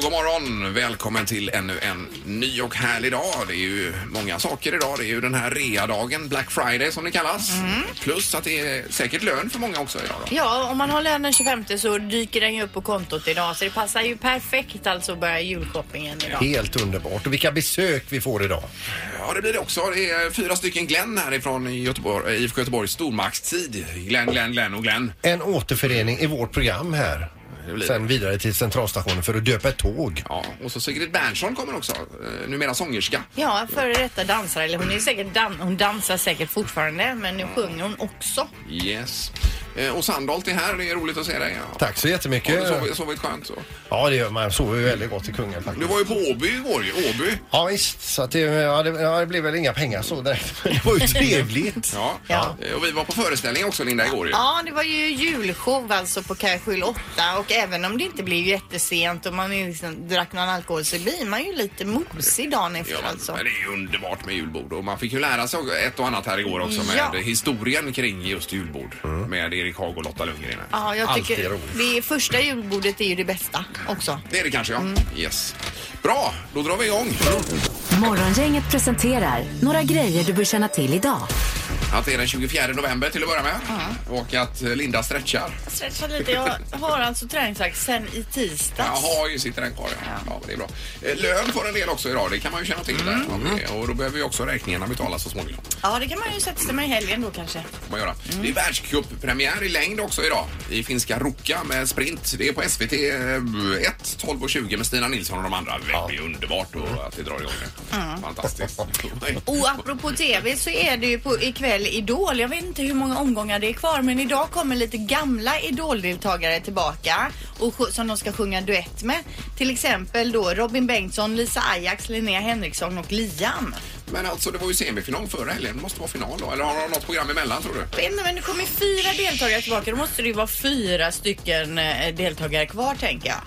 morgon! Välkommen till ännu en ny och härlig dag. Det är ju många saker idag. Det är ju den här readagen, Black Friday som det kallas. Plus att det är säkert lön för många också idag. Då. Ja, om man har lön den 25 så dyker den ju upp på kontot idag så det passar ju perfekt alltså att börja julshoppingen idag. Helt underbart. Och vilka besök vi får idag. Ja, det blir det också. Det är fyra stycken Glenn härifrån Göteborg, eh, IFK Göteborgs stormaktstid. Glenn, Glenn, Glenn och Glenn. En återförening i vårt program här. Det blir Sen vidare till centralstationen för att döpa ett tåg. Ja, och så Sigrid Bernson kommer också. eh, Numera sångerska. Ja, före detta dansare, eller hon, är säkert dan- hon dansar säkert fortfarande men nu sjunger hon också. Yes. Eh, Och Sandholt är här. Det är roligt att se dig. Ja. Tack så Har du jättemycket. sovit, sovit skönt? Så. Ja, det gör man. Sover ju väldigt gott i Du Kungälv faktiskt. var ju på Åby igår. ju. Åby. Ja, visst. Så att det, ja, det, ja, det blev väl inga pengar så direkt. Men det var ju trevligt. Ja. Ja. Eh, Och vi var på föreställning också Linda igår ju. Ja, det var ju julshow alltså på Kajskjul 8 och även om det inte blev jättesent och man liksom drack någon alkohol så blir man ju lite mosig dagen efter Ja, men- alltså. Men det är ju underbart med julbord och man fick ju lära sig ett och annat här igår också med Ja. historien kring just julbord med Erik Haag och Lotta Lundgren. Ja, jag Allt tycker är roligt. det första julbordet är ju det bästa också. Det är det kanske ja. Mm. Yes. Bra, då drar vi igång. Morgongänget presenterar några grejer du bör känna till idag. Att det är den 24 november till att börja med och att eh, Linda stretchar. stretchar lite. Jag har alltså träningsvärk sen i tisdags. Jaha, ju sitter den kvar. Ja. Ja, men det är bra. Eh, Lön får en del också idag, det kan man ju känna till Mm. där. Ja, det- Och då behöver ju också räkningarna betalas så småningom. Ja, det kan man ju sätta sig med i helgen då kanske. Får Man göra. Det är världscuppremiär i längd också idag i finska Ruka med sprint. Det är på SVT 1, 12 eh, och 20 med Stina Nilsson och de andra. Väldigt underbart och att det drar igång nu. Fantastiskt. Och apropå TV så är det ju på ikväll Idol. Jag vet inte hur många omgångar det är kvar men idag kommer lite gamla Idol-deltagare tillbaka och sj- som de ska sjunga duett med. Till exempel då Robin Bengtsson, Lisa Ajax, Linnea Henriksson och Liam. Men alltså det var ju semifinal förra helgen. Det måste vara final då. Eller har de något program emellan tror du? Jag vet inte, men det kommer fyra deltagare tillbaka. Då måste det ju vara fyra stycken eh, deltagare kvar tänker jag.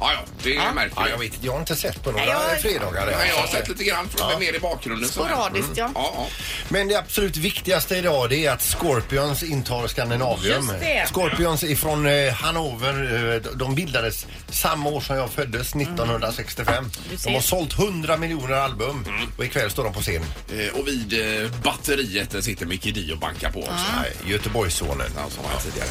Ja, ja, det märker Ja, vi. jag jag. vet inte. Jag har inte sett på några Nej, jag- fredagar. där. Men jag har sett lite grann från mer i bakgrunden. så här. Mm. Sporadiskt, ja. Ja, ja. Men det absolut viktigaste idag det är att Scorpions intar Skandinavium. Just det. Scorpions ifrån eh, Hannover, eh, de bildades samma år som jag föddes, Mm. 1965. ser. De har sålt 100 miljoner album och ikväll står de på Mm. scen. Eh, Och vid eh, batteriet där sitter Micke Di och bankar på också. Nej, Göteborgssonen. Ja, som var här tidigare.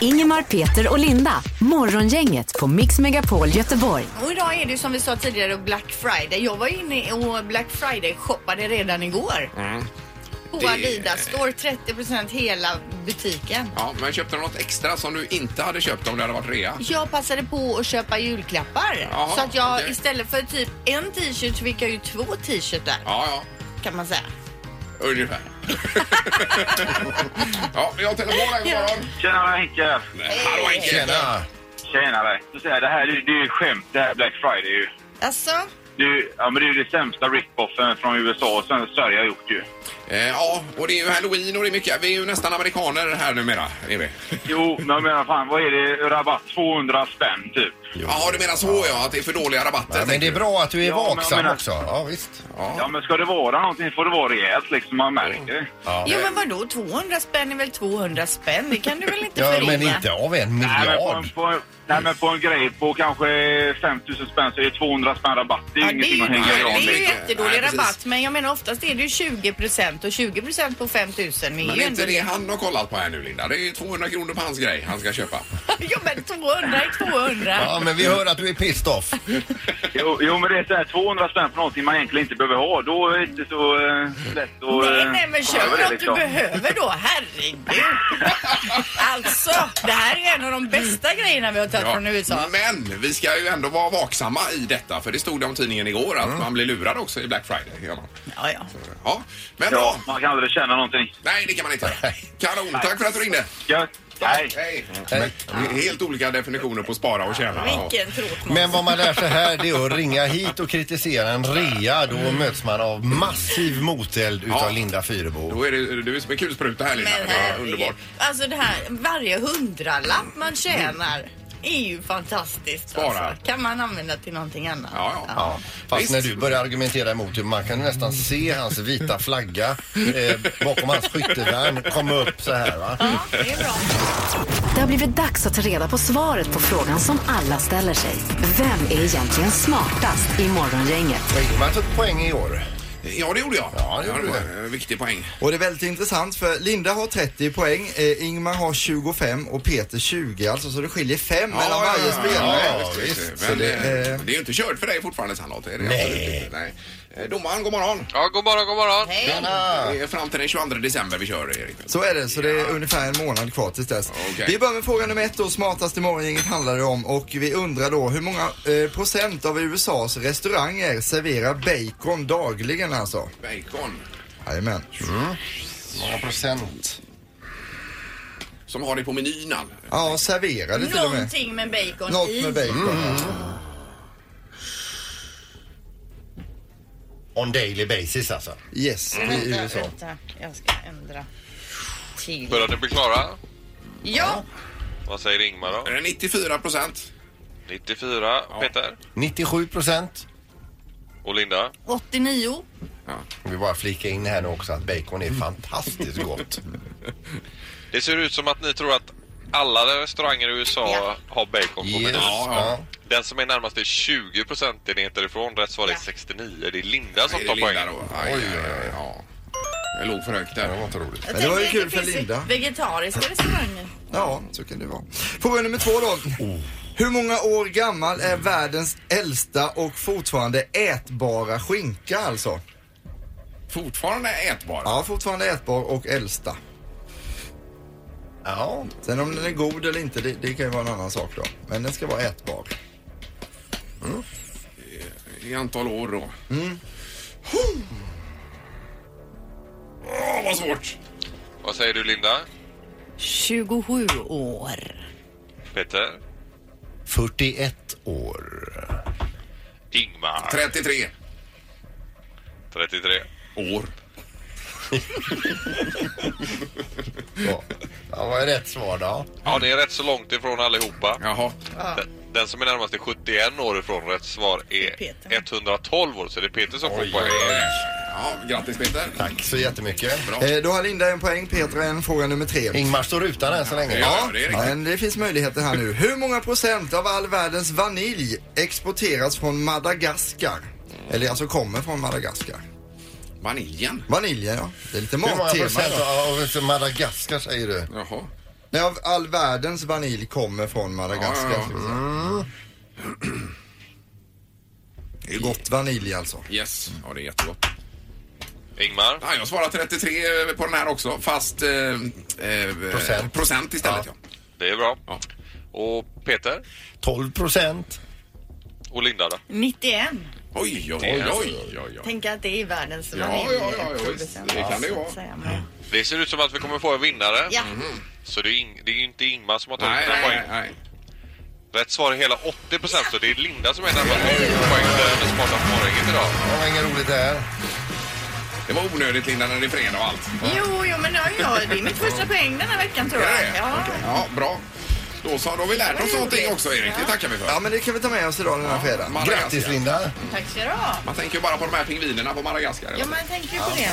Ingemar, Peter och Linda. Morgongänget på Mix Megapol Göteborg. Och idag är det ju som vi sa tidigare Black Friday. Jag var inne och Black Friday shoppade redan igår. På Det- Adidas står 30% hela butiken. Ja, men köpte du något extra som du inte hade köpt om det hade varit rea? Jag passade på att köpa julklappar. Jaha, så att jag okej. istället för typ en t-shirt så fick jag ju två t-shirtar Ja, ja. kan man säga. Ungefär. ja, vi har telefon här. God morgon. Tjena Henke! Hallå Henke. Tjena! Tjenare! Du säger, det här det är ju ett skämt det här Black Friday ju. Alltså, Det är, ju- ja, men det är ju det sämsta rip-offen från USA och sen Sverige har gjort ju. Eh, ja, och det är ju halloween och det är mycket. Vi är ju nästan amerikaner här numera. Är vi. Jo, men jag menar fan vad är det? Rabatt 200 spänn typ. Ja, du menar så ja, att det är för dåliga rabatter. Ja, men det är tänker bra att du är Ja, men jag vaksam menar- också. Ja, visst. du. Ja. Ja men ska det vara någonting får det vara rejält liksom, man märker det. jo men vadå 200 spänn är väl 200 spänn? Det kan du väl inte Ja, förringa? men inte av en Nej men, på en, miljard. på, en- nej men på en grej på kanske 5000 spänn så är det 200 spänn rabatt. Det är ju Ja, det är ingenting ju, man hänger det är liksom. gran ju vid. jättedålig Nej, precis. rabatt men jag menar oftast är det ju 20 och 20 på 5 000 är ju Men är inte ändå det han har kollat på här nu Linda? Det är ju 200 kronor på hans grej han ska köpa. Ja men 200 är 200. Ja, men vi hör att du är pissed off. Jo, jo men det är så här 200 spänn för någonting man egentligen inte behöver ha. Då är det inte så eh, lätt att... Nej, eh, nej, men komma köp över det, något du liksom. behöver då. Herregud. Alltså, det här är en av de bästa grejerna vi har tagit Ja. Mm. från USA. Men vi ska ju ändå vara vaksamma i detta för det stod det om tidningen igår att Mm. man blir lurad också i Black Friday. Gör man. Ja, ja. Ja, men Ja, bra. man kan aldrig känna någonting. Nej, det kan man inte. Kanon, tack för att du ringde. Gött. Hej. Hej. Eh, Men, det är helt olika definitioner på spara och tjäna. Vilken tråkmåns. Men vad man lär sig här det är att ringa hit och kritisera en rea. Då möts man av massiv moteld utav Ja. Linda Fyrebo. Då är det, du är som en kulspruta här Linda. Men Det är herregud. underbart. Alltså det här, varje hundralapp man tjänar är ju fantastiskt. Spara. Alltså. Kan man använda till någonting annat. Ja, ja. Ja, fast Visst. när du börjar argumentera emot det, man kan ju nästan se hans vita flagga eh, bakom hans skyttevärn komma upp så här va. Ja, det är bra. Det har blivit dags att ta reda på svaret på frågan som alla ställer sig. Vem är egentligen smartast i Morgongänget? Och Ingmar tog poäng i år. Ja, det gjorde jag. Ja, det gjorde var en viktig poäng. Och det är väldigt intressant för Linda har 30 poäng, eh, Ingmar har 25 och Peter 20 alltså så det skiljer 5 mellan varje spelare. Ja, just det, just det. Men, det- eh, eh, det är ju inte kört för dig fortfarande, Sandholt. är det? Absolut inte. Nej. Eh, Domaren, god morgon. Ja, god morgon, god morgon. Hej. Det är fram till den 22 december vi kör, Erik. Alltså, Så är det, så det är ungefär en månad kvar tills dess. Okej. Vi börjar med fråga nummer ett då, smartast i morgongänget handlar det om och vi undrar då hur många eh, procent av USAs restauranger serverar bacon dagligen alltså? Bacon, Jajamän. Mm. Några procent. som har det på menyn. all- Ja, serverar det till och med. Någonting med bacon Något i. med bacon. Mm. On daily basis alltså. Yes, i Vänta, USA. vänta. Jag ska ändra till. Börjar ni bli klara? Ja, Vad säger Ingmar då? Är det 94 procent. 94, Peter 97 procent. och Linda. 89. Vi bara flika in här nu också att bacon är fantastiskt gott. Det ser ut som att ni tror att alla restauranger i USA Ja. har bacon på Yes. menyn. Ja, Den som är närmast är 20 procentenheter ifrån. Rätt svar är Ja. 69. Det är Linda som Är det tar Linda poängen. då? Aj, aj, aj, ja. Jag låg för högt där. Det var inte roligt. Men det var ju Tänker kul för det finns Linda. Vegetariska restauranger. Ja, så kan det vara. Fråga nummer två då. Hur många år gammal är världens äldsta och fortfarande ätbara skinka alltså? Fortfarande ätbar. Ja, fortfarande ätbar och äldsta. Ja, Sen om den är god eller inte, det, det kan ju vara en annan sak då. Men den ska vara ätbar. I antal år då. Mm. Åh, vad svårt! Vad säger du Linda? 27 år. Peter? 41 år. Ingmar? 33 33. år. Ja. Ja, vad är rätt svar då? Ja, det är rätt så långt ifrån allihopa. Jaha. Den- Den som är närmast är 71 år ifrån. Rätt svar är Peter. 112 år. Så det är Peter som får poängen. Ja, grattis Peter. Tack så jättemycket. Bra. Eh, då har Linda en poäng, Petra en. Fråga nummer tre. Ingmar står utan än så länge. Ja, det är riktigt. Men det finns möjligheter här nu. Hur många procent av all världens vanilj exporteras från Madagaskar? Eller alltså kommer från Madagaskar. Vaniljen. Vaniljen ja, det är lite Hur många mattema. procent idag. av Madagaskar säger du? Jaha. Nej, av all världens vanilj kommer från Madagaskar. Ja, ja, Mm. ja. ska vi säga. Det är gott vanilj alltså. Yes. Ja, det är jättegott. Ingmar? Ja, jag svarar 33 på den här också, fast eh, eh, Procent. procent istället. Ja. Det är bra. Ja. Och Peter? 12 procent. Och Linda då? 91. Oj, oj, oj, oj, oj, oj. Tänk att det är världens Ja, vanilj- ja, ja, ja, visst. producent, Det kan det ju så vara. att säga. Men- Det ser ut som att vi kommer få en vinnare. Ja, Så det är, Ing- det är ju inte Ingmar som har tagit Nej, den här nej, poängen. nej. Rätt svar är hela 80 procent. Så det är Linda som är närmast med 20 poäng. Där är det smarta på morgonen idag. Det var inget roligt där. Det var onödigt Linda när det är fredag och allt. jo, jo, men nu har jag, det är mitt första poäng den här veckan tror Är jag. det det? Ja. Okej. Ja, bra. Då så, då har vi lärt oss någonting också Erik. Det tackar vi för. Ja men det kan vi ta med oss idag den här fredagen. Madagaskar. Grattis Linda. Tack ska du ha. Man tänker ju bara på de här pingvinerna på Madagaskar. Ja, men jag tänker ju på det.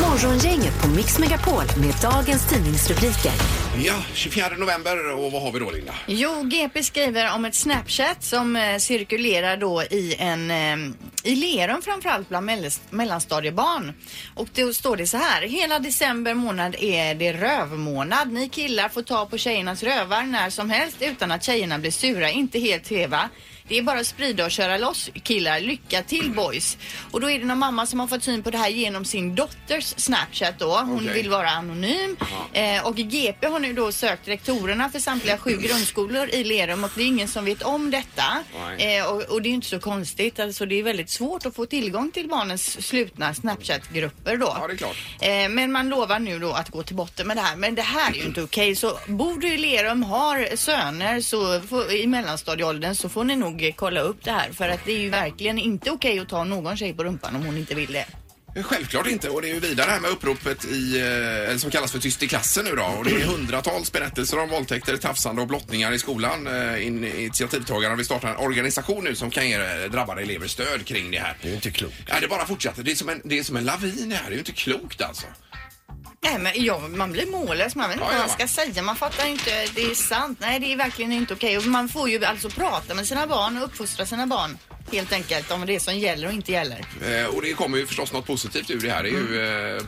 Morgongänget på Mix Megapol med dagens tidningsrubriker. Ja, 24 november och vad har vi då Linda? Jo, GP skriver om ett Snapchat som eh, cirkulerar då i en eh, i Lerum framförallt bland mellis- mellanstadiebarn. Och då står det så här. Hela december månad är det rövmånad. Ni killar får ta på tjejernas rövar när som helst utan att tjejerna blir sura. Inte helt heva. Det är bara att sprida och köra loss killar. Lycka till boys. Och då är det någon mamma som har fått syn på det här genom sin dotters Snapchat då. Hon Okej. vill vara anonym. Eh, och GP har nu då sökt rektorerna för samtliga sju grundskolor i Lerum och det är ingen som vet om detta. Nej. Eh, och, och det är inte så konstigt. Alltså det är väldigt svårt att få tillgång till barnens slutna Snapchat-grupper då. Ja, det är klart. Eh, men man lovar nu då att gå till botten med det här. Men det här är ju inte okej. Så bor du i Lerum, har söner så får, i mellanstadieåldern så får ni nog eh, kolla upp det här. För att det är ju verkligen inte okej att ta någon tjej på rumpan om hon inte vill det. Självklart inte. Och det är ju vidare här med uppropet i, eh, som kallas för Tyst i klassen nu då. Och det är hundratals berättelser om våldtäkter, tafsande och blottningar i skolan. Eh, in- Initiativtagarna vill starta en organisation nu som kan ge eh, drabbade elever stöd kring det här. Det är ju inte klokt. Ja, det bara fortsätter. Det är som en, det är som en lavin det här. Det är ju inte klokt alltså. Nej, men ja, man blir mållös. Man vet inte Ja, vad ja. man ska säga. Man fattar inte. Det är sant. Nej, det är verkligen inte okej. Och man får ju alltså prata med sina barn och uppfostra sina barn helt enkelt om det som gäller och inte gäller. Eh, och det kommer ju förstås något positivt ur det här. Det är ju eh,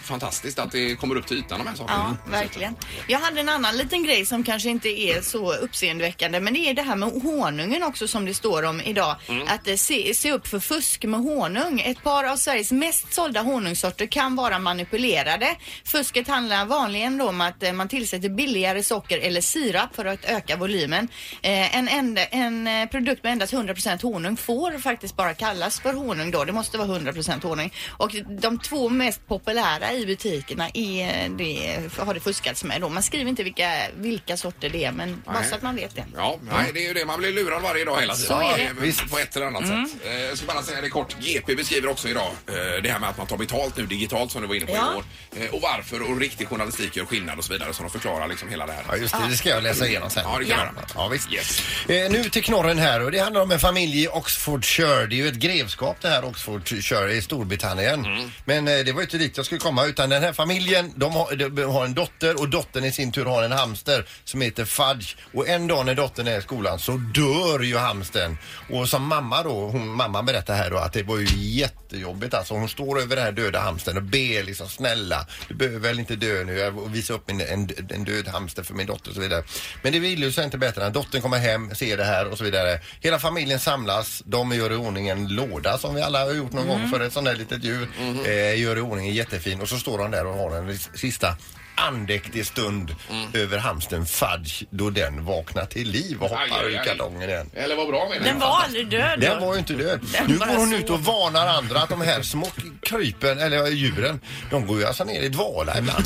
fantastiskt att det kommer upp till ytan de här Mm. Ja, sakerna. verkligen. Jag hade en annan liten grej som kanske inte är så uppseendeväckande men det är det här med honungen också som det står om idag. Att eh, se, se upp för fusk med honung. Ett par av Sveriges mest sålda honungssorter kan vara manipulerade. Fusket handlar vanligen då om att eh, man tillsätter billigare socker eller sirap för att öka volymen. Eh, en, enda, en eh, produkt med endast 100% honung får faktiskt bara kallas för honung då. Det måste vara 100% honung. Och de två mest populära i butikerna är det, har det fuskats med då. Man skriver inte vilka, vilka sorter det är men bara så att man vet det. Ja, nej, det är ju det. Man blir lurad varje dag hela tiden. Så är det. Ja, Visst. På ett eller annat sätt. Eh, Jag ska bara säga det kort. GP beskriver också idag eh, det här med att man tar betalt nu digitalt som du var inne på Ja. igår. Eh, Och varför och riktig journalistik gör skillnad och så vidare. Så de förklarar liksom hela det här. Ja, just det. Det ska jag läsa igenom sen. Ja, det kan jag göra. Ja, visst. Yes. Eh, nu till knorren här och det handlar om en familj i Oxfordshire. Det är ju ett grevskap det här Oxfordshire i Storbritannien. Mm. Men eh, det var ju inte dit jag skulle komma utan den här familjen de har, de har en dotter och dottern i sin tur har en hamster som heter Fudge. Och en dag när dottern är i skolan så dör ju hamstern. Och som mamma då, hon, mamman berättar här då att det var ju jättejobbigt alltså. Hon står över den här döda hamstern och ber liksom snälla du behöver väl inte dö nu och visa upp min, en, en död hamster för min dotter och så vidare. Men det vill ju sig inte bättre. Dottern kommer hem, ser det här och så vidare. Hela familjen samlas. De gör i ordning en låda som vi alla har gjort någon Mm. gång för ett sånt där litet djur. Mm-hmm. Eh, gör i ordning en jättefin och så står de där och har en ris- sista andäktig stund Mm. över hamstern Fudge då den vaknar till liv och Aj, hoppar aj, ur aj. kartongen igen. Eller vad bra menar Den var aldrig död Den då. var ju inte död. Nu bara går hon så. ut och varnar andra att de här små krypen, eller eh, djuren, de går ju alltså ner i dvala ibland.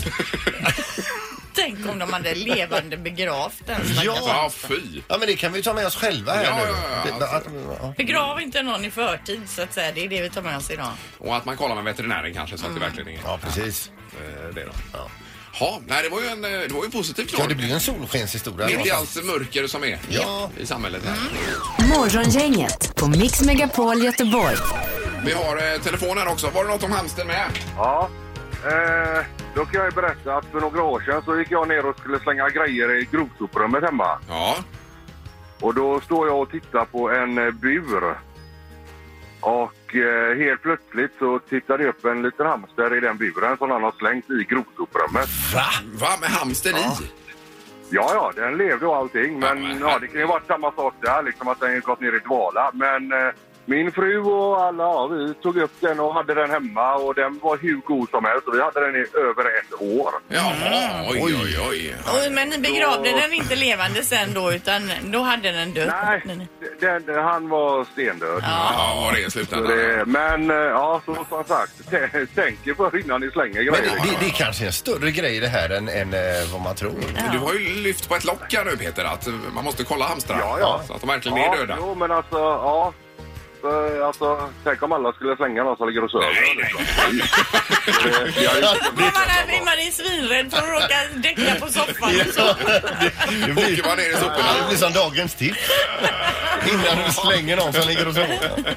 Tänk om de hade levande begravt den Ja. Ja, fy. Ja men det kan vi ta med oss själva här Ja, nu. ja, ja, Det- alltså. att- ja. Begrav inte någon. någon i förtid så att säga. Det är det vi tar med oss idag. Och att man kollar med veterinären kanske så att det verkligen är Ja, precis. eh, det då. Ja. Ja, nej, det var ju en, eh, det var ju positivt Ja, knorr. det blir en solskenshistoria. Mitt i någonstans. allt mörker som är Ja. i samhället. här. Morgongänget på Mix Megapol Göteborg. Vi har eh, telefonen också. Var det något om hamstern med? Ja. Eh, då kan jag ju berätta att för några år sedan så gick jag ner och skulle slänga grejer i grovsoprummet hemma. Ja. Och då står jag och tittar på en eh, bur. Och eh, helt plötsligt så tittar det upp en liten hamster i den buren som han har slängt i grovsoprummet. Va? Va? Med hamstern i? Ja, ja, den levde och allting. Ja, men- Men ja, det kan ju varit samma sak där, liksom att den gått ner i dvala. Men eh, min fru och alla, ja, vi tog upp den och hade den hemma och den var hur god som helst. Och vi hade den i över ett år. Mm. Jaha, oj, oj, oj. Oj, men ni begravde den inte levande sen då utan då hade den dött. Nej, den, den, han var stendöd. Ja, vad det är i Så slutändan. det, men eh, ja, så, som sagt, t- tänk er för innan ni slänger Men grejer. det, det, det är kanske en större grej det här än, än eh, vad man tror. Du har ju lyft på ett lock här nu Peter, att eh, man måste kolla hamstrar. Ja, ja. Så att de verkligen ja, är döda. Jo, men alltså, ja. Så, Alltså, tänk om alla skulle slänga någon som ligger och sover. Nej, nej, Det- jag är inte Blir så man, blyg. där, blir man är svinrädd för att råka däcka på soffan och så. Det åker man ner i soporna. det blir som dagens tips. Innan du slänger någon som ligger och sover.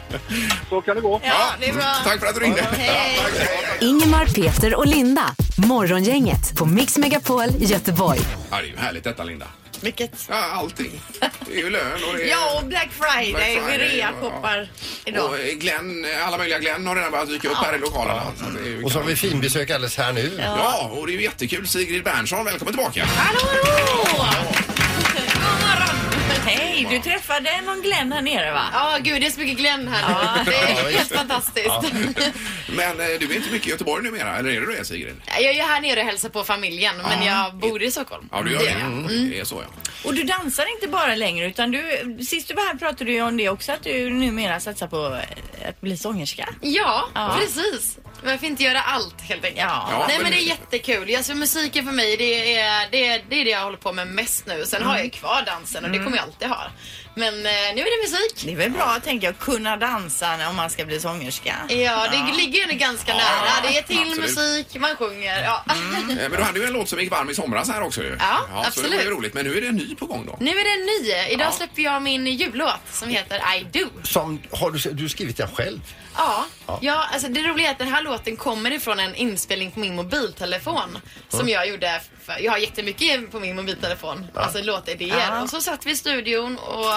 Så kan det gå. Ja, det är bra. Tack för att du ringde. Tack. Ingemar, Peter och Linda. Morgongänget på Mix Megapol Göteborg. Ja, det är ju härligt detta Linda. Vilket? Ja, allting. Det är ju lön och det är... Ja, och Black Friday Black och Friday, reakoppar Och idag. eh, Glenn, eh, alla möjliga Glenn har redan börjat dyka upp här i lokalerna. Så att det är ju Och så har vi finbesök alldeles här nu. Ja, och det är ju jättekul. Sigrid Bernson, välkommen tillbaka. Hallå, hallå! God morgon! Hej, du träffade någon Glenn här nere va? Ja, gud det är så mycket Glenn här nu. Det är helt fantastiskt. Men eh, du är inte mycket i Göteborg numera, eller är du det Sigrid? Jag är ju här nere och hälsar på familjen, men jag bor i Stockholm. Ja, du gör det. Mm. Det är så ja. Och du dansar inte bara längre utan du, sist du var här pratade du ju om det också att du numera satsar på eh, att bli sångerska? Ja, Ja. precis. Varför inte göra allt helt enkelt? Ja. Ja, Nej men men det det- är jättekul. Alltså, musiken för mig det är det, är, det är det jag håller på med mest nu. Sen har jag ju kvar dansen och det kommer jag alltid ha. Men eh, nu är det musik. Det är väl bra, tänker jag, kunna dansa om man ska bli sångerska. Ja, det ligger ju nu ganska nära. Det är till absolut. musik, man sjunger. Ja. Eh, Men du hade ju en låt som gick varm i somras här också ju. Ja, Så det var ju absolut. roligt. Men nu är det en ny på gång då. Mm. Nu är det en ny. Idag Ja. släpper jag min jullåt som heter I do. Som, har du, du har skrivit den själv? Ja, ja alltså det roliga är att den här låten kommer ifrån en inspelning på min mobiltelefon. Som jag gjorde, för, jag har jättemycket på min mobiltelefon. Alltså låtidéer. Och så satt vi i studion och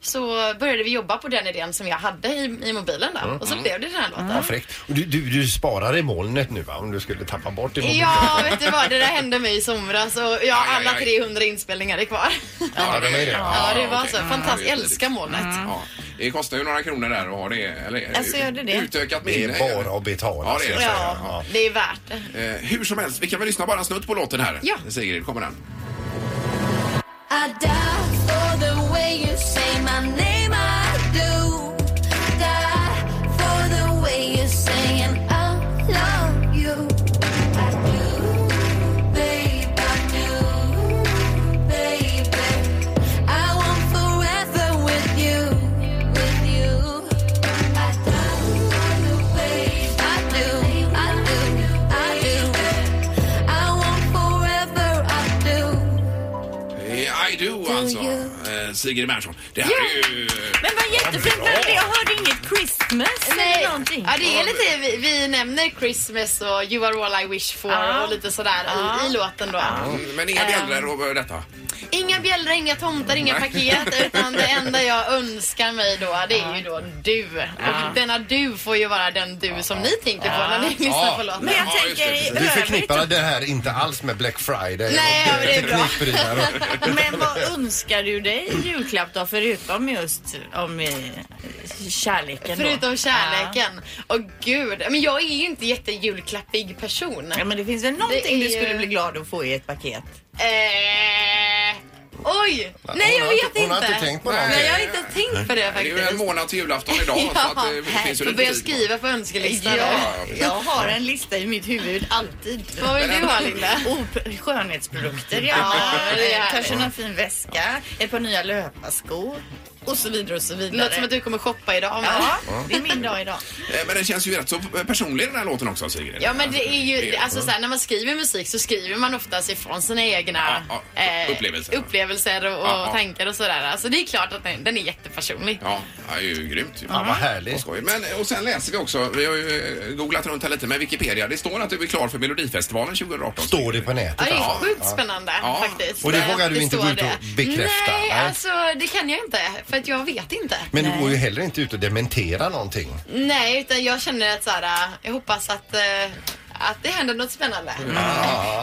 så började vi jobba på den idén som jag hade i, i mobilen där. Och så blev det den här låten. Ja, fräckt. Och du, du, du sparar i molnet nu va? Om du skulle tappa bort i mobilen. Ja, vet du vad? Det där hände mig i somras och jag Aj, aj, har alla aj. 300 inspelningar är kvar. Ja, det var ju det. Ja, det var okej. så. Ja, det Fantastiskt. är Mm. Jag tidigt. älskar molnet. Ja, det kostar ju några kronor där att ha det. Eller, är Alltså, gör det det? Utökat Det minne. är bara att betala. Ja, det är det. Ja, Ja. det är värt det. Eh, hur som helst, vi kan väl lyssna bara snutt på låten här. Ja. Sigrid, kommer den? I die for the way you say my name, I do. Die for the way you're saying I love you. I do, babe, I do, baby. I want forever with you, with you. I die for the way I do, I do, I do. I want forever, I do. Eh, I do alltså. Eh, Sigrid Persson. Det här är ju... Men vad jättefint, men jag hörde inget Christmas eller någonting. Ja, det är lite, vi, vi nämner Christmas och You are all I wish for Ja. och lite sådär i, i låten då. Men inga bjällror och eh, detta. Inga bjällror, inga tomtar, inga paket utan det enda jag önskar mig då det är ju då du. Och denna du får ju vara den du som ni tänker på när ni lyssnar på låten. Men jag Ja, just det, tänker i precis. alltså. Du övrigt, förknippar det här inte alls med Black Friday Nej, och ja, men det är bra. teknikprylar och- men vad önskar du dig i julklapp då förutom just om eh, kärleken då? Förutom kärleken. Och gud, men jag är ju inte jättejulklappig person. Ja men det finns väl någonting Det är du skulle ju- bli glad att få i ett paket? Eh, oj! Nej, hon jag har vet inte- inte. hon har inte tänkt på någonting. Nej, jag har inte tänkt på det Det är faktiskt. ju en månad till julafton idag. så att eh, det finns ju då lite börjar jag tid på. skriva på önskelistan. Ja, precis. jag har en lista i mitt huvud alltid. Vad vill du ha Linda? Oh, skönhetsprodukter, ja. Ja, det är Kanske någon fin väska, ett par nya löparskor och så vidare och så Det vidare. låter som att du kommer shoppa idag. Men... Ja, det är min dag idag. Eh, Men den känns ju rätt så personlig den här låten också Sigrid. Ja men det är ju, Det är- alltså så här, när man skriver musik så skriver man oftast ifrån sina egna eh, Ja, ja, upplevelser. upplevelser och, och Ja, ja. tankar och sådär. Alltså det är klart att den, den är jättepersonlig. Ja, det är ju grymt. ju. Fan vad Vad härligt. skoj. Men, och sen läser vi också, vi har ju eh, googlat runt här lite med Wikipedia. Det står att du är klar för Melodifestivalen 2018. Står det på Ja, nätet? det alltså. Ja, är sjukt spännande Ja. faktiskt. Och det Eh, vågar du inte står gå ut och det. bekräfta, Nej, nej. alltså det kan jag inte. För att jag vet inte. Men du går ju heller inte ut och dementerar någonting. Nej, utan jag känner att så här, eh, jag hoppas att, eh, att det händer något spännande.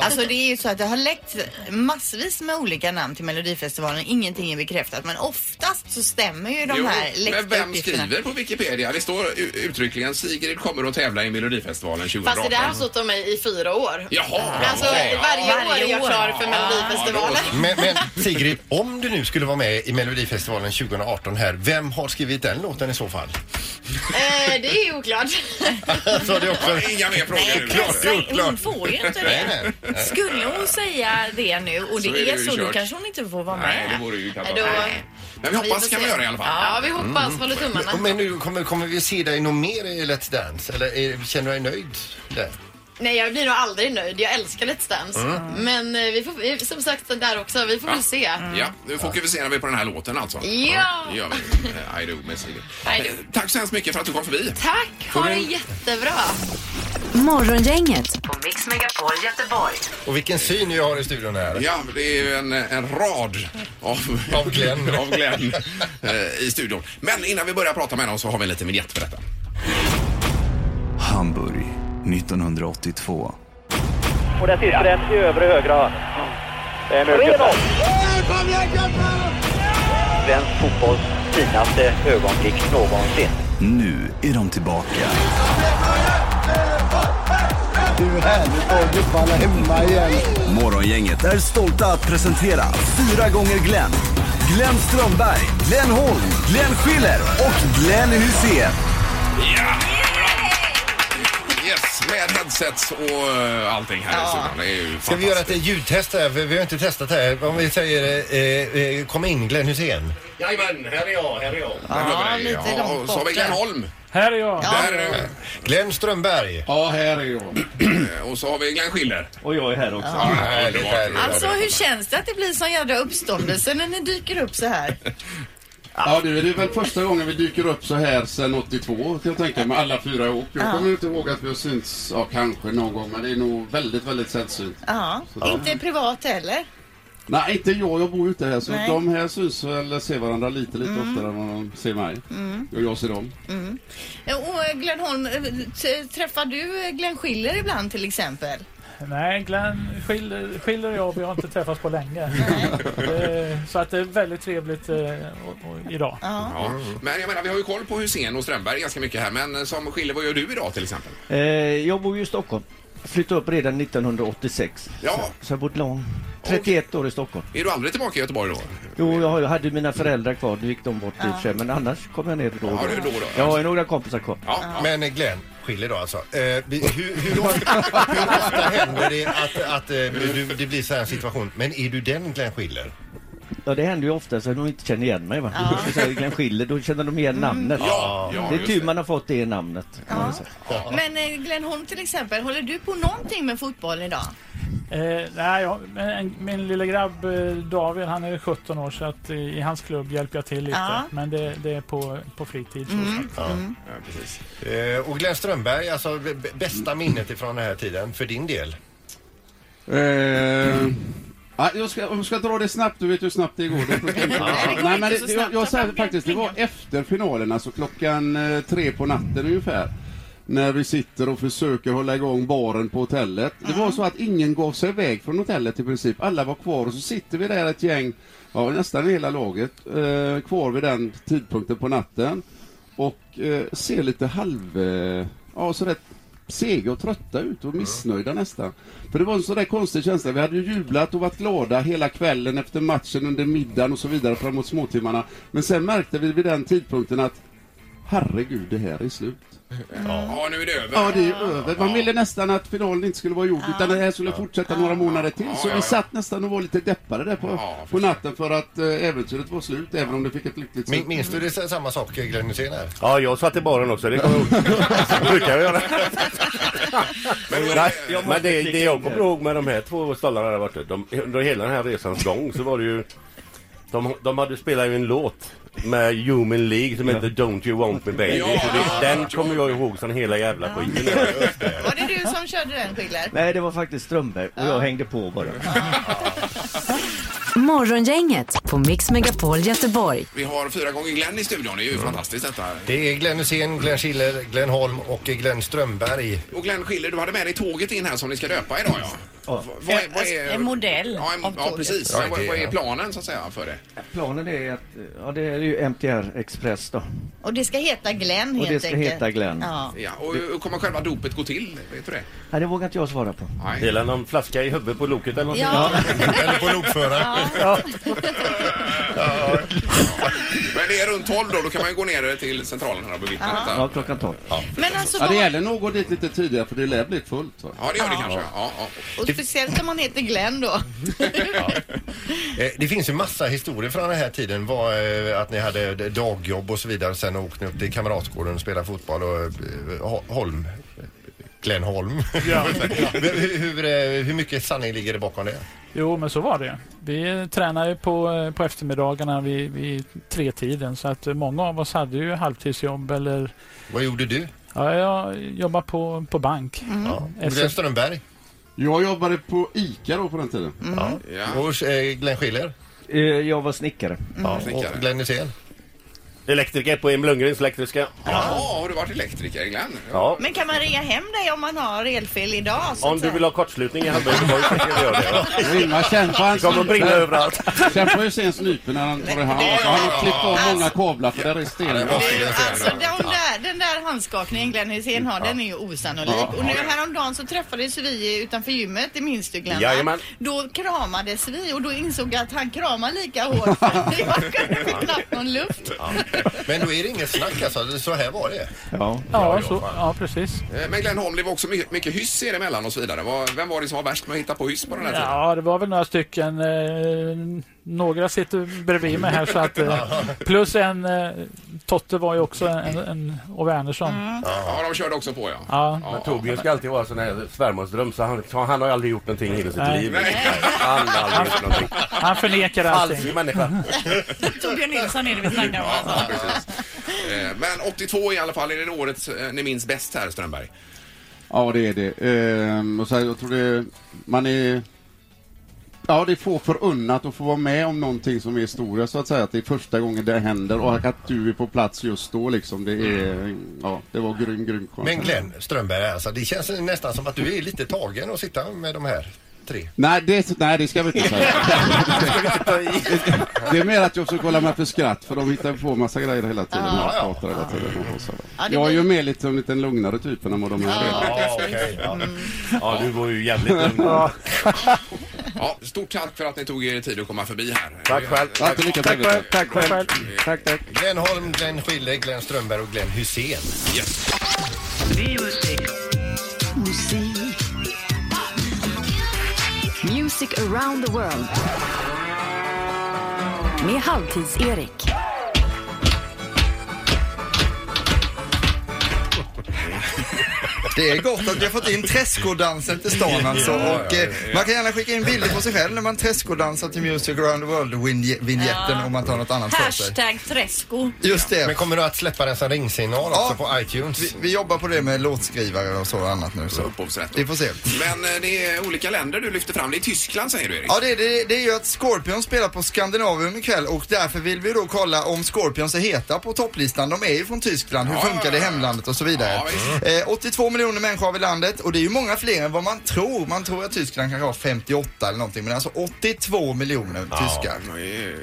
Alltså det är ju så att det har läckt massvis med olika namn till Melodifestivalen. Ingenting är bekräftat men oftast så stämmer ju de Jo, här läckta men vem uppgifterna. skriver på Wikipedia? Det står u- uttryckligen Sigrid kommer att tävla i Melodifestivalen 2018. Fast det där har stått om mig i fyra år. Jaha! Alltså okej, ja. varje, Varje år är jag år. klar för Melodifestivalen. Ja, Men, men Sigrid, om du nu skulle vara med i Melodifestivalen 2018 här, vem har skrivit den låten i så fall? eh, det är oklart. Så det är också... då- Inga mer frågor nu. klart. Säg- gjort, klart. Hon får ju inte Nej, det. nej. Skulle hon säga det nu och Så är det det är ju så, då kört. kanske hon inte får vara Nej, det med. vore ju Då- katastrof. Men vi hoppas får kan vi se. göra i alla fall. Mm. Ja, vi hoppas. Håller tummarna. Men, men nu, kommer, kommer vi se dig nog mer i Let's Dance? Eller är, känner du dig nöjd där? Nej, jag blir nog aldrig nöjd. Jag älskar Let's Dance. Men eh, vi får, vi- som sagt, där också. Vi får väl se. Mm. Mm. Ja, nu fokuserar vi på den här låten alltså. Ja. Det gör vi. Eh, I do med Sigrid. I do. Eh, Tack så hemskt mycket för att du kom förbi. Tack! Ha det jättebra. Morgongänget på Mix Megapol Göteborg. Och vilken syn vi har i studion här. Ja, det är ju en, en rad av, Av Glenn. av Glenn, eh, i studion. Men innan vi börjar prata med honom så har vi en liten vignett för detta. Hamburg 1982. Och där sitter den i övre högra hörnet. Det är en ökenfärg. Svensk fotbolls finaste ögonblick någonsin. Nu är de tillbaka. Morgongänget är stolta att presentera fyra gånger Glenn. Glenn Strömberg, Glenn Holm, Glenn Schiller och Glenn Hussein. Yes, med headsets och eh, allting här i studion. Det är ju Ska vi göra ett ljudtest här? För vi har inte testat det här. Om vi säger eh, eh, kom in Glenn Hussein. Jajamän, här är jag, här är jag. Ja, lite Ja, långt så har vi bort Glenn där. Holm. Här är jag. Där är du. Glenn Strömberg. Ja, här är jag. Eh, Och så har vi Glenn Schiller. Och jag är här också. Ja, härligt, härligt. Alltså hur känns det att det blir sån jädra uppståndelse när ni dyker upp så här? Ja, du, det är väl första gången vi dyker upp så här sen 82 kan jag tänka mig, alla fyra ihop. Jag Ja. kommer inte ihåg att vi har synts, ja kanske någon gång, men det är nog väldigt, väldigt sällsynt. Ja, inte privat heller. Nej, inte jag, jag bor ju inte här, så Nej. de här syns eller ser varandra lite, lite oftare än vad de ser mig. Mm. Och jag ser dem. Mm. Och eh, Glenn Holm, eh, t- träffar du eh, Glenn Schiller ibland till exempel? Nej, Glenn skiljer, skiljer jag och vi har inte träffats på länge. Eh, Så att det är väldigt trevligt eh, och- och idag. Ja. Men jag menar, vi har ju koll på Hussein och Strömberg ganska mycket här. Men eh, som Schiller, vad gör du idag till exempel? Eh, jag bor ju i Stockholm. Flyttade upp redan 1986. Ja. Så, så jag har bott lång. 31 år i Stockholm. Är du aldrig tillbaka i Göteborg då? Jo, jag har- jag hade mina föräldrar kvar. Nu gick de bort i och för sig, men annars kom jag ner då och Ja, då. det är då och då. Jag har ju några kompisar kvar. Men eh, Glenn, skiljer då alltså. Eh, vi- hur, hur, ofta, hur ofta händer det att, att eh, du, det blir så här situation? Men är du den Glenn Schiller? Ja, det händer ju ofta så att de inte känner igen mig. Va? Ja. Så här, Glenn Schiller, då känner de igen namnet. Ja, ja, det är just tur man har fått det namnet. kan man säga. Men eh, Glenn Holm till exempel, håller du på någonting med fotboll idag? Eh, nej, jag, men en, min lilla grabb eh, David, han är 17 år så att eh, i hans klubb hjälper jag till lite. Ja. Men det, det är på, på fritid. Så Mm, sagt. mm. Ja, precis. Eh, och Glenn Strömberg, alltså b- b- bästa minnet ifrån den här tiden för din del? Eh, ja, jag, ska, jag ska dra det snabbt, du vet hur snabbt det går. Det brukar inte- Nej, det går Nej, men inte det, så det- jag, snabbt. jag säger faktiskt, det var efter finalen, alltså klockan eh, tre på natten ungefär. När vi sitter och försöker hålla igång baren på hotellet. Det var så att ingen gav sig iväg från hotellet i princip. Alla var kvar och så sitter vi där ett gäng, ja nästan hela laget, eh, kvar vid den tidpunkten på natten. Och eh, ser lite halv... Eh, ja, så rätt sega och trötta ut och missnöjda nästan. För det var en sån där konstig känsla. Vi hade ju jublat och varit glada hela kvällen efter matchen under middagen och så vidare framåt småtimmarna. Men sen märkte vi vid den tidpunkten att herregud, det här är slut. Ja, nu är det över. Ja, det är ju över. Man ville nästan att finalen inte skulle vara gjord utan det här skulle fortsätta några månader till. Så vi satt nästan och var lite deppade där på, på natten för att eh, äventyret var slut även om det fick ett lyckligt slut. Min- Minns du det är samma sak Glenn Hysén här? Ja, jag satt i baren också. Det kommer jag ihåg. Det brukar jag göra. Nej, men det, det jag kommer ihåg med de här två stallarna där borta. De, under hela den här resans gång så var det ju... De, de hade spelat ju en låt med Human League som heter Don't You Want Me Baby. så det, den kommer jag ihåg som hela jävla skiten. Var det du som körde den Schiller? Nej, det var faktiskt Strömberg och jag hängde på bara. Morgongänget på Mix Megapol Göteborg. Vi har fyra gånger Glenn i studion. Det är ju fantastiskt detta. Det är Glenn Hysén, Glenn Schiller, Glenn Holm och Glenn Strömberg. Och Glenn Schiller, du hade med dig tåget in här som ni ska döpa idag ja. V- Vad är, vad är, En modell ja, av ja, tåget. precis. Ja, Men vad, det- vad är planen så att säga för det? Planen är att, ja det är ju MTR Express då. Och det ska heta Glenn Och helt det ska enkelt. heta Glenn. Ja. Ja, och hur kommer själva dopet gå till? Vet du det? Nej, det vågar inte jag svara på. Hela någon flaska i huvudet på loket eller någonting. Ja. Eller på lokföraren. Ja. Men det är runt 12 då, då kan man ju gå ner till centralen här och bevittna Ja. detta. Ja, klockan 12. Men alltså, Ja, det vad- gäller nog att gå dit lite tidigare för det lär bli fullt. Va? Ja, det gör det kanske. och speciellt om man heter Glenn då. Eh, Det finns ju massa historier från den här tiden. Var, eh, att ni hade d- dagjobb och så vidare. Sen åkte ni upp till Kamratgården och spelade fotboll. Och, eh, Ho- Holm. Glenn Holm. hur, hur, eh, hur mycket sanning ligger det bakom det? Jo, men så var det. Vi tränade ju på, på eftermiddagarna vid, vid tretiden så att många av oss hade ju halvtidsjobb eller... Vad gjorde du? Ja, jag jobbade på, på bank. Mm. Mm. Och Glenn Strömberg? Jag jobbade på ICA då på den tiden. Mm. Ja. Och eh, Glenn Schiller? Eh, Jag var snickare. Ja, och Glenn Hysén? Mm. Elektriker på Emil Lundgrens elektriska. Jaha, har du varit elektriker Glenn? Ja. Men kan man ringa hem dig om man har elfel idag? Så Om att du säga? vill ha kortslutning i halva Göteborg så kan du göra det. va? Ingmar, känn på hans Det kommer att brinna sniper. överallt. Känn på Hyséns nyper när han tar i hand. Alltså, han har klippt av många kablar för där är sten. Alltså den där, den där handskakningen Glenn Hysén har, den är ju osannolik. Ja. Och nu häromdagen så träffades vi utanför gymmet, det minns du Glenn? va? Jajamän. Då kramades vi och då insåg jag att han kramade lika hårt. Det var- kunde knappt någon luft. Men då är det inget snack alltså. Så här var det. Ja, ja, så, ja precis. Eh, Men Glenn Holm, det var också mycket, mycket hyss er emellan och så vidare. Vad- Vem var det som var värst med att hitta på hyss på den här tiden? Ja, det var väl några stycken. Eh, några sitter bredvid mig här så att eh, plus en eh, Totte var ju också en, en och Wernersson. Mm. Ja, de körde också på ja. Ja. Men Torbjörn ska alltid vara sån här svärmorsdröm så han, så han har aldrig gjort någonting i hela sitt Nej. liv. Nej. Han har aldrig gjort någonting. Han förnekar allting. Falsk människa. Torbjörn Nilsson är det vi snackar om. alltså. Eh, Men 82 i alla fall, är det året eh, ni minns bäst här Strömberg? Ja, det är det. Ehm, och så här, jag tror det, man är... Ja, det är få förunnat att få vara med om någonting som är historia så att säga. Att det är första gången det händer och att du är på plats just då liksom. Det är... Ja, det var grym, grym konsert. Men Glenn Strömberg, alltså, det känns nästan som att du är lite tagen att sitta med de här tre. Nej det, nej, det ska vi inte säga. Det är mer att jag försöker hålla mig för skratt för de hittar på massa grejer hela tiden. Ja, och ja. pratar hela tiden och så. Ja, det Jag är blir- ju mer lite, lite lugnare typen än vad de här är. Ja, okej. ja. Ja, du var ju jävligt lugn. Ja, stort tack för att ni tog er tid att komma förbi här. Tack själv. Ja, till lycka till. Tack själv, tack själv. Tack, tack. Glenn Holm, Glenn Schille, Glenn Strömberg och Glenn Hussein. Yes. Musik. Music around the world. Med Halvtids-Erik. Det är gott att vi har fått in träskodansen till stan alltså. Ja, ja, Och, eh, ja. man kan gärna skicka in bilder på sig själv när man träskodansar till Music around the world-vinjetten Ja. om man tar något annat för sig. Hashtag Träsko. Just det. Men kommer du att släppa den som ringsignal också på iTunes? Vi, vi jobbar på det med låtskrivare och så och annat nu. Så. Vi får se. Men eh, det är olika länder du lyfter fram. Det är Tyskland säger du Erik. Ja, det, det, det är ju att Scorpions spelar på Skandinavium ikväll och därför vill vi då kolla om Scorpions är heta på topplistan. De är ju från Tyskland, hur funkar det i hemlandet och så vidare. eh, 82 miljoner människor har vi i landet och det är ju många fler än vad man tror. Man tror att Tyskland kanske har 58 eller någonting men alltså 82 miljoner tyskar.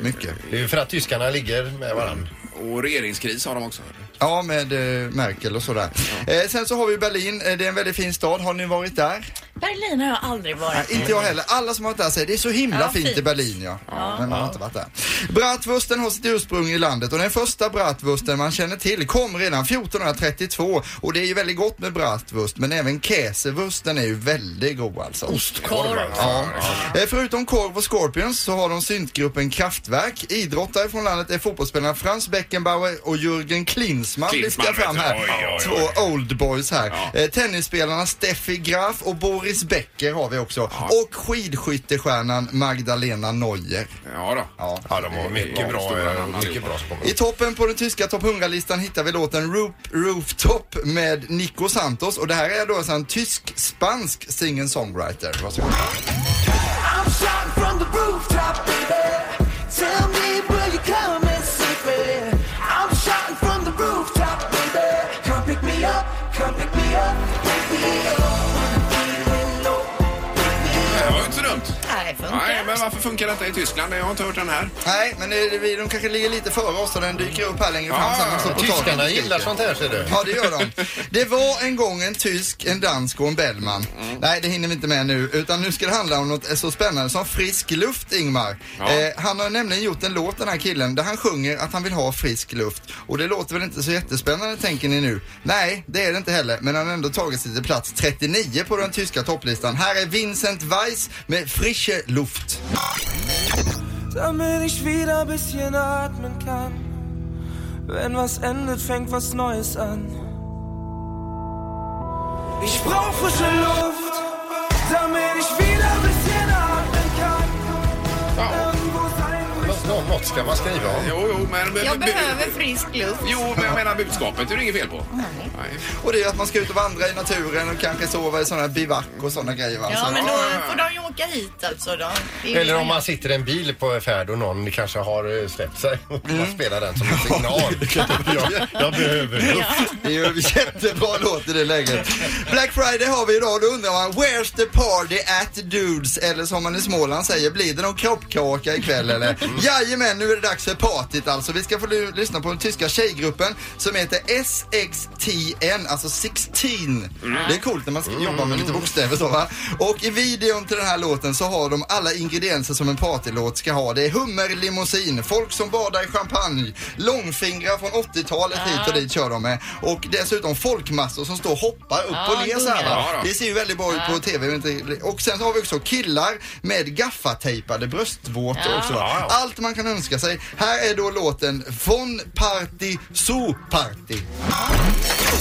Mycket. Det är ju för att tyskarna ligger med varandra. Och regeringskris har de också. Ja, med eh, Merkel och sådär. Eh, sen så har vi Berlin, eh, det är en väldigt fin stad. Har ni varit där? Berlin har jag aldrig varit. Nej, inte jag heller. Alla som har varit där säger det är så himla Ja, fint, i fint. Berlin ja. Ja. Men man Ja. har inte varit där. Bratwursten har sitt ursprung i landet och den första bratwursten man känner till kom redan 1432 och det är ju väldigt gott med bratwurst men även käsewursten är ju väldigt god alltså. Ostkorv. Ja. Eh, Förutom korv och Scorpions så har de syntgruppen Kraftwerk. Idrottare från landet är fotbollsspelarna Frans Beckenbauer och Jürgen Klinsmann Klinsmann, lyfter jag fram vet här. du. Oj, oj, oj. Två oldboys här. Eh, Tennisspelarna Steffi Graf och Boris Becker har vi också. Och skidskyttestjärnan Magdalena Neuer. Ja då. Ja, de var mycket bra, eh, mycket bra spår. I toppen på den tyska topp 100-listan hittar vi låten Roof, Rooftop med Nico Santos och det här är då alltså en tysk-spansk singer-songwriter. Varsågod. I'm shouting from the rooftop, baby. Tell me, will you come and see me? I'm shouting from the rooftop, baby. Come pick me up, come pick me up, pick me up. Det var ju inte så dumt. Nej, Nej, men varför funkar detta i Tyskland? Jag har inte hört den här. Nej, men det, vi- de kanske ligger lite före oss och den dyker upp här längre fram sen. när de står på Ah, tyskarna taket och skriker. gillar sånt här, ser du. Ja, det gör de. Det var en gång en tysk, en dansk och en Bellman. Nej, det hinner vi inte med nu. Utan nu ska det handla om något eh, så spännande som frisk luft, Ingmar. Ja. Eh, han har nämligen gjort en låt, den här killen, där han sjunger att han vill ha frisk luft. Och det låter väl inte så jättespännande, tänker ni nu? Nej, det är det inte heller. Men han har ändå tagit sig till plats 39 på den tyska topplistan. Här är Vincent Weiss med Frische Luft. Damit ich wieder ein bisschen atmen kann. Wenn was endet, fängt was Neues an. Ich brauch frische Luft, damit ich wieder ein bisschen atmen kann. Irgendwo sein Nå- Något ska man skriva om. Jo, jo, men... Jag behöver frisk luft. Jo, men jag menar budskapet är det inget fel på. Och det är att man ska ut och vandra i naturen och kanske sova i sådana här bivack och sådana grejer. Va? Ja, Så- men då får de ju åka hit alltså då. Det är Eller ju- om man sitter i en bil på en färd och någon kanske har eh, släppt sig och man spelar den som en signal. jag, jag behöver luft. Det är ju en jättebra låt i det läget. Black Friday har vi idag. Då undrar man where's the party at dudes? Eller som man i Småland säger, blir det någon kroppkaka ikväll eller? Mm. Jajamän, nu är det dags för partyt alltså. Vi ska få lu- lyssna på den tyska tjejgruppen som heter SXTN, Mm. alltså 16. Det är coolt när man ska jobba med lite bokstäver så va. Och i videon till den här låten så har de alla ingredienser som en partylåt ska ha. Det är hummerlimousin, folk som badar i champagne, långfingrar från 80-talet hit och dit kör de med. Och dessutom folkmassor som står och hoppar upp Ja, och ner så här. gungar. va. Det ser ju väldigt bra ut på TV. men inte- Och sen så har vi också killar med gaffatejpade bröstvårtor Ja. också. Ja, Va? ja. Allt man kan önska sig. Här är då låten Von Party zu Party.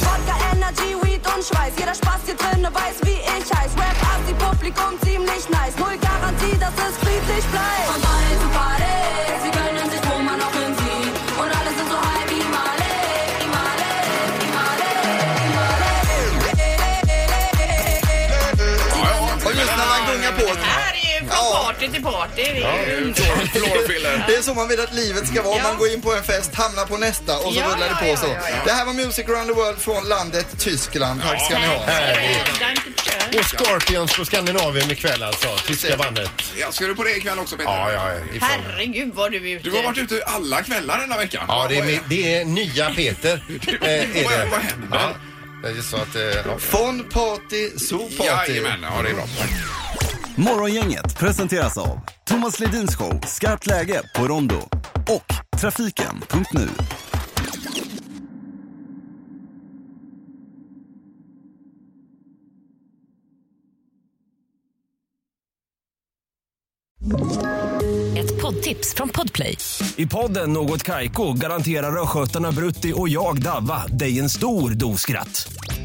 Wodka Energy, Weed und Schweiß. Jeder Spaß hier drinne weiß, wie ich heiß. Rap ab, die Publikum ziemlich nice. Null Garantie, dass es friedlich bleibt. Von Party zu Party, sie gönnen sich, wo man auch hin sieht. Und alle sind so high wie Marley. Marley, Marley, Marley. Och just när man gungar på. Här är ju från party till party. Det är ju underbart. Det är så man vill att livet ska vara. Man går in på en fest, hamnar på nästa och så Ja, rullar det ja, på så. ja, ja, ja. Det här var Music around the world från landet Tyskland. Tack ska ni ha. Och Scorpions på Skandinavien ikväll alltså. Tyska bandet. Ja, ska du på det ikväll också Peter? Ja, ja, ja. Herregud vad du är ute. Du har varit ute alla kvällar denna veckan. Ja, det är, min- det är nya Peter. eh, är det. Vad händer? Ja, det är så att... eh, ja. Von Party zu Party. Jajamän, ja det är bra. Morgongänget presenteras av Thomas Ledins show Skarpt läge på Rondo och Trafiken.nu. Ett poddtips från Podplay. I podden Något Kaiko garanterar östgötarna Brutti och jag, Davva, dig en stor dos skratt.